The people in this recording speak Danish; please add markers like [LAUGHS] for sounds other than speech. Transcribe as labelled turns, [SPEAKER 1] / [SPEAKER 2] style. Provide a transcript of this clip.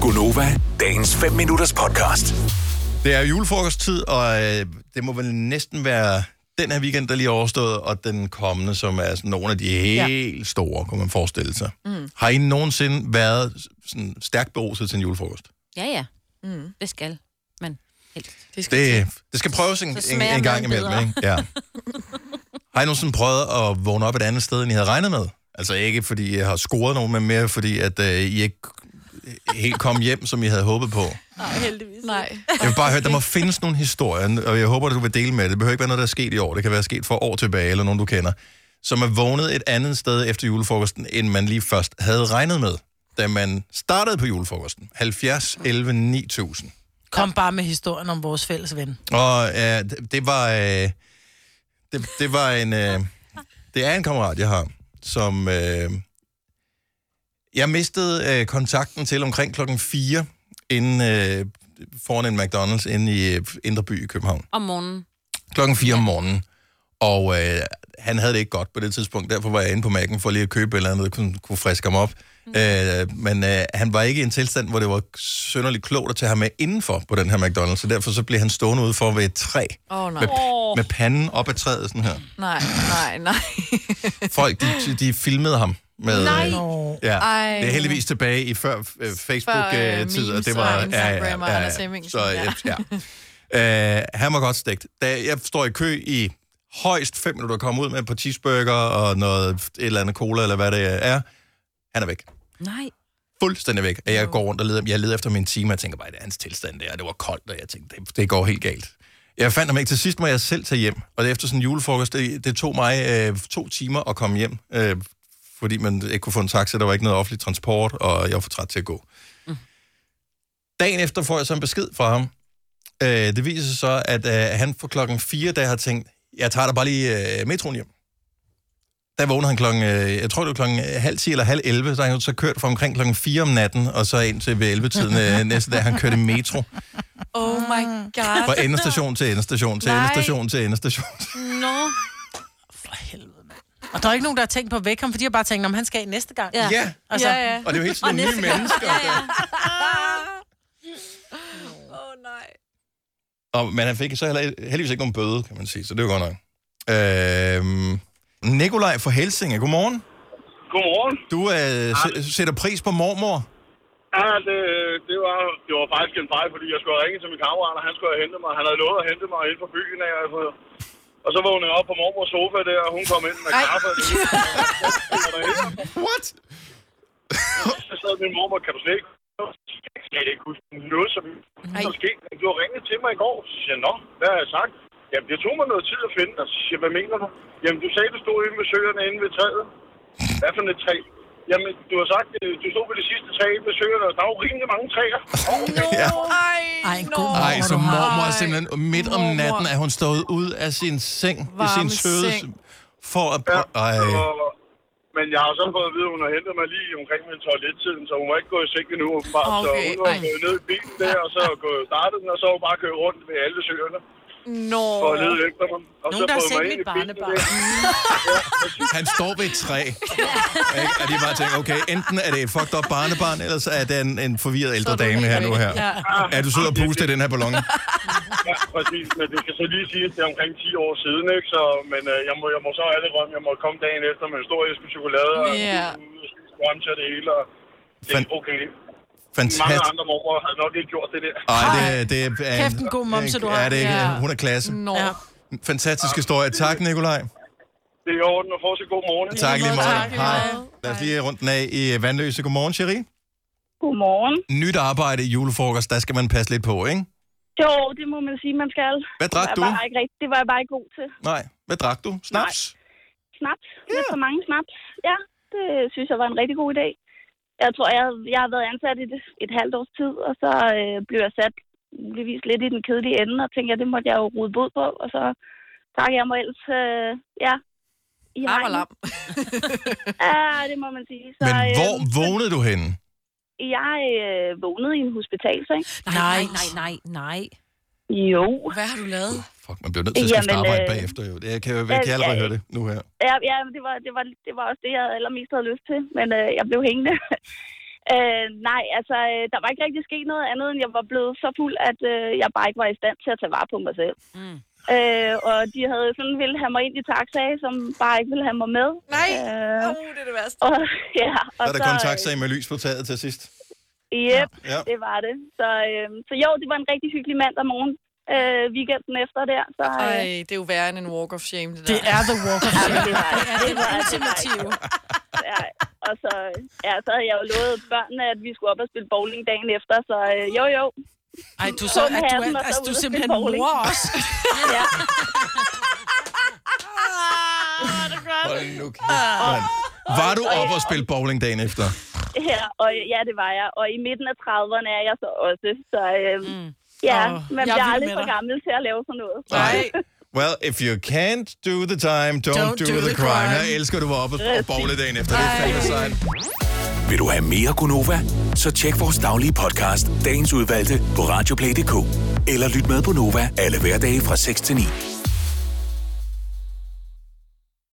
[SPEAKER 1] Gunova, dagens 5 minutters podcast.
[SPEAKER 2] Det er julefrokosttid, og øh, det må vel næsten være den her weekend, der lige er overstået, og den kommende, som er sådan nogle af de helt ja. store, kunne man forestille sig. Mm. Har I nogensinde været sådan stærkt beruset til en julefrokost?
[SPEAKER 3] Ja, ja. Mm. Det skal man helst.
[SPEAKER 2] Det, det skal prøves en,
[SPEAKER 3] Så
[SPEAKER 2] en,
[SPEAKER 3] smager
[SPEAKER 2] en gang
[SPEAKER 3] maden
[SPEAKER 2] imellem,
[SPEAKER 3] bedre.
[SPEAKER 2] ikke? Ja. Har I nogensinde prøvet at vågne op et andet sted, end I havde regnet med? Altså ikke fordi jeg har scoret nogen, men mere fordi, at øh, I ikke helt kom hjem, som I havde håbet på.
[SPEAKER 4] Nej.
[SPEAKER 2] Jeg vil bare høre, der må findes nogle historier, og jeg håber, at du vil dele med det. Det behøver ikke være noget, der er sket i år. Det kan være sket for år tilbage, eller nogen, du kender. Som er vågnet et andet sted efter julefrokosten, end man lige først havde regnet med, da man startede på julefrokosten. 70, 11, 9000.
[SPEAKER 5] Kom bare med historien om vores fælles ven.
[SPEAKER 2] Og øh, det- det var... Øh, det, det var en... Øh, det er en kammerat, jeg har, som... Øh, jeg mistede øh, kontakten til omkring klokken 4 inden, øh, foran en McDonald's inde i øh, Indre By i København.
[SPEAKER 3] Om morgenen.
[SPEAKER 2] klokken 4 om morgenen. Og øh, han havde det ikke godt på det tidspunkt, derfor var jeg inde på Mac'en for lige at købe et eller andet, der kunne, kunne friske ham op. Mm. Øh, men øh, han var ikke i en tilstand, hvor det var synderligt klogt at tage ham med indenfor på den her McDonald's, så derfor så blev han stående ude for ved et træ,
[SPEAKER 4] Åh, oh, nej.
[SPEAKER 2] med, med panden op ad træet sådan her.
[SPEAKER 4] Nej, nej, nej.
[SPEAKER 2] Folk, de, de filmede ham. Med,
[SPEAKER 3] Nej.
[SPEAKER 2] øh,
[SPEAKER 5] Nå.
[SPEAKER 2] Ja,
[SPEAKER 4] Ej.
[SPEAKER 2] det er heldigvis tilbage i før
[SPEAKER 4] Før, øh,
[SPEAKER 2] Facebook-tid, og
[SPEAKER 4] memes
[SPEAKER 2] det
[SPEAKER 4] og
[SPEAKER 2] var...
[SPEAKER 4] Instagram og Anders Hemmingsen,
[SPEAKER 2] Så,
[SPEAKER 4] ja.
[SPEAKER 2] ja. ja. Øh, han var godt stegt. Da jeg står i kø i højst fem minutter, kommer ud med et par cheeseburger og noget, et eller andet cola, eller hvad det er, han er væk.
[SPEAKER 3] Nej.
[SPEAKER 2] Fuldstændig væk. Og Jeg går rundt og leder, jeg leder efter min time, og jeg tænker bare, det er hans tilstand der, og det var koldt, og jeg tænkte, det, det går helt galt. Jeg fandt ham ikke. Til sidst må jeg selv tage hjem, og det efter sådan en julefrokost, det, det tog mig øh, to timer at komme hjem, øh, fordi man ikke kunne få en taxa, der var ikke noget offentlig transport, og jeg var for træt til at gå. Dagen efter får jeg så en besked fra ham. Øh, det viser sig så, at øh, han for klokken 4, da har tænkt, jeg tager da bare lige øh, metroen hjem. Der vågner han klokken, øh, jeg tror det var klokken øh, halv 10 eller halv 11, så har han jo så kørt fra omkring klokken 4 om natten, og så ind til ved 11-tiden øh, næste dag, han kørte i [LAUGHS] metro.
[SPEAKER 4] Oh my
[SPEAKER 5] Ah.
[SPEAKER 4] god.
[SPEAKER 2] Fra endestation til endestation, til
[SPEAKER 4] Nej.
[SPEAKER 2] endestation til endestation.
[SPEAKER 3] Nå.
[SPEAKER 5] For helvede, mand. Og der er ikke nogen, der har tænkt på at vække ham, for de har bare tænkt, om han skal næste gang.
[SPEAKER 3] Ja.
[SPEAKER 2] Ja,
[SPEAKER 5] Altså,
[SPEAKER 4] ja, ja.
[SPEAKER 2] og det er jo helt sådan nogle nye mennesker.
[SPEAKER 4] Åh, oh, nej.
[SPEAKER 2] Og, men han fik så heller, heldigvis ikke nogen bøde, kan man sige, så det er jo godt nok. Øhm, Nikolaj fra Helsinge, godmorgen.
[SPEAKER 6] Godmorgen.
[SPEAKER 2] Du øh, s- sætter pris på mormor.
[SPEAKER 6] Ja, det, det, var, det var faktisk en fejl, fordi jeg skulle have ringet til min kammerat, og han skulle have hentet mig. Han havde lovet at hente mig ind fra byen af. Altså. Og så vågnede jeg op på mormors sofa der, og hun kom ind med
[SPEAKER 4] Ej.
[SPEAKER 6] kaffe. og det hele. Og derinde,
[SPEAKER 2] What?
[SPEAKER 6] Så sad min mormor, kan du slet ikke jeg kan slet ikke huske noget, som
[SPEAKER 4] Ej.
[SPEAKER 6] der skete. Men Du har ringet til mig i går. Så siger jeg, nå, hvad har jeg sagt? Jamen, det tog mig noget tid at finde dig. Så siger jeg, hvad mener du? Jamen, du sagde, du stod inde ved søerne inde ved træet. Hvad for et træ? Jamen, du har sagt, øh, du stod ved det sidste træ inde ved søerne, og der var rimelig mange træer.
[SPEAKER 2] Ja.
[SPEAKER 4] Ej,
[SPEAKER 5] Ej, en
[SPEAKER 4] nå.
[SPEAKER 5] god morgen.
[SPEAKER 2] Ej,
[SPEAKER 5] Hvor
[SPEAKER 2] så
[SPEAKER 5] du har-
[SPEAKER 2] mormor er
[SPEAKER 4] Ej,
[SPEAKER 2] simpelthen midt om
[SPEAKER 4] mormor.
[SPEAKER 2] natten, at hun stået ud af sin seng i
[SPEAKER 4] Varme
[SPEAKER 2] sin søde
[SPEAKER 4] seng.
[SPEAKER 2] for at...
[SPEAKER 6] Ja,
[SPEAKER 2] Ej.
[SPEAKER 6] og, men jeg har så fået at vide, at hun har hentet mig lige omkring min toilettiden, så hun må ikke gå i seng endnu, åbenbart. Okay, så
[SPEAKER 4] Okay,
[SPEAKER 6] hun var
[SPEAKER 4] ej.
[SPEAKER 6] gået ned i bilen der, og så gået startet den, og så har hun bare kørt rundt ved alle søerne
[SPEAKER 4] Nå.
[SPEAKER 6] for at lede efter mig. Og
[SPEAKER 5] Nogen,
[SPEAKER 6] så
[SPEAKER 5] der har
[SPEAKER 6] fået
[SPEAKER 5] set
[SPEAKER 6] mig ind
[SPEAKER 5] mit
[SPEAKER 6] i bilen
[SPEAKER 5] barnebarn.
[SPEAKER 6] der.
[SPEAKER 2] Han står ved et træ. Ikke? Og de bare tænker, okay, enten er det et fucked up barnebarn, eller så er det en, en forvirret ældre dame her nu her.
[SPEAKER 4] Ja.
[SPEAKER 2] Er du sød og puste i den her ballon?
[SPEAKER 6] Ja, præcis. Men det skal så lige siges, det er omkring 10 år siden, ikke? Så, men øh, jeg, må, jeg må så alle rømme, jeg må komme dagen efter med en stor æske chokolade og
[SPEAKER 4] Ja.
[SPEAKER 6] ud og spise grønt til det hele. Og, det,
[SPEAKER 2] Fan-
[SPEAKER 6] okay, mange
[SPEAKER 2] Fantastisk.
[SPEAKER 6] andre mormor havde nok ikke gjort det der.
[SPEAKER 2] Ej, det, det er...
[SPEAKER 5] Kæft, en god momse, du har.
[SPEAKER 2] Ja, det er,
[SPEAKER 4] Ja.
[SPEAKER 2] hun er klasse.
[SPEAKER 4] Nå.
[SPEAKER 5] Ja. Mm.
[SPEAKER 2] Fantastisk historie. Tak, Nikolaj.
[SPEAKER 6] Det er i orden, og få så god morgen.
[SPEAKER 2] Tak lige meget.
[SPEAKER 5] tak, i lige
[SPEAKER 2] Hej.
[SPEAKER 5] måde.
[SPEAKER 2] Lad os lige rundt den af i Vandløse. Godmorgen, Cherie.
[SPEAKER 7] Godmorgen.
[SPEAKER 2] Nyt arbejde i julefrokost, der skal man passe lidt på, ikke?
[SPEAKER 7] Jo, det må man sige, man skal.
[SPEAKER 2] Hvad
[SPEAKER 7] Det
[SPEAKER 2] drak
[SPEAKER 7] var, jeg
[SPEAKER 2] du?
[SPEAKER 7] bare ikke rigtig, det var jeg bare ikke god til.
[SPEAKER 2] Nej. Hvad drak du? Snaps?
[SPEAKER 7] Snaps. Lidt for mange snaps. Ja, det synes jeg var en rigtig god idé. Jeg tror, jeg, jeg har været ansat i det et halvt års tid, og så øh, blev jeg sat muligvis lidt i den kedelige ende, og tænkte, at det måtte jeg jo rode bod på, og så trak jeg mig ellers, øh, ja, i
[SPEAKER 4] Lam og
[SPEAKER 7] hegnet.
[SPEAKER 4] lam.
[SPEAKER 7] Ja, det må man sige. Så,
[SPEAKER 2] Men
[SPEAKER 7] øh,
[SPEAKER 2] hvor vågnede du henne?
[SPEAKER 7] Jeg øh, vågnede i en hospitalseng.
[SPEAKER 3] Nej, nej, nej, nej, nej.
[SPEAKER 7] Jo,
[SPEAKER 4] Hvad har du lavet?
[SPEAKER 2] Fuck, man bliver nødt til at skifte
[SPEAKER 7] Jamen,
[SPEAKER 2] arbejde
[SPEAKER 7] øh,
[SPEAKER 2] bagefter, jo. Det kan jeg, jeg kan
[SPEAKER 7] ja,
[SPEAKER 2] allerede
[SPEAKER 7] ja.
[SPEAKER 2] høre det nu her.
[SPEAKER 7] Ja, ja men det, var, det, var, det var også det, jeg allermest havde lyst til, men øh, jeg blev hængende. [LAUGHS] Øh, nej, altså, øh, der var ikke rigtig sket noget andet, end jeg var blevet så fuld, at øh, jeg bare ikke var i stand til at tage vare på mig selv.
[SPEAKER 3] Mm.
[SPEAKER 7] Øh, og de havde sådan ville have mig ind i taxaer, som bare ikke ville have mig med.
[SPEAKER 4] Nej.
[SPEAKER 7] Øh,
[SPEAKER 4] Åh, det er det værste.
[SPEAKER 7] og, [LAUGHS] ja, og
[SPEAKER 2] Så er der
[SPEAKER 7] så,
[SPEAKER 2] kun
[SPEAKER 7] øh,
[SPEAKER 2] taxa med lys på taget til sidst.
[SPEAKER 7] Yep,
[SPEAKER 2] Ja.
[SPEAKER 7] ja. det var det. Så, øh, så jo, det var en rigtig hyggelig mandag morgen øh, weekenden efter der. Så,
[SPEAKER 4] Ej,
[SPEAKER 7] øh,
[SPEAKER 4] det er jo værre end en walk of shame, det der.
[SPEAKER 5] Det er The Walk of Shame.
[SPEAKER 4] [LAUGHS]
[SPEAKER 7] det var,
[SPEAKER 5] Ja, det er det ultimative.
[SPEAKER 7] ja, og så, ja, så havde jeg jo lovet børnene, at vi skulle op og spille bowling dagen efter, så øh, jo jo.
[SPEAKER 5] Ej, du, er så,
[SPEAKER 7] Tom
[SPEAKER 5] at du,
[SPEAKER 7] Hansen
[SPEAKER 5] er,
[SPEAKER 7] og så
[SPEAKER 5] altså, du
[SPEAKER 7] ud
[SPEAKER 5] er
[SPEAKER 7] at
[SPEAKER 5] simpelthen
[SPEAKER 7] spille bowling.
[SPEAKER 5] mor også.
[SPEAKER 7] [LAUGHS] Ja.
[SPEAKER 2] Hold nu kæft, mand. Var du op og spille bowling dagen efter?
[SPEAKER 7] Ja, og ja, det var jeg. Og i midten af 30'erne er jeg så også. Så øh, mm. ja,
[SPEAKER 5] Åh,
[SPEAKER 7] man
[SPEAKER 5] jeg er
[SPEAKER 7] bliver
[SPEAKER 5] vild
[SPEAKER 7] aldrig
[SPEAKER 5] med
[SPEAKER 7] for
[SPEAKER 5] dig.
[SPEAKER 7] gammel til at lave sådan noget.
[SPEAKER 4] Nej.
[SPEAKER 2] Well, if you can't do the time, don't, don't do, do, the, crime. crime. Jeg elsker, at du var oppe og bowle dagen efter. Det er fandme sejt.
[SPEAKER 1] Vil du have mere Gunova? Så tjek vores daglige podcast, dagens udvalgte, på radioplay.dk. Eller lyt med på Nova alle hverdage fra 6 til 9.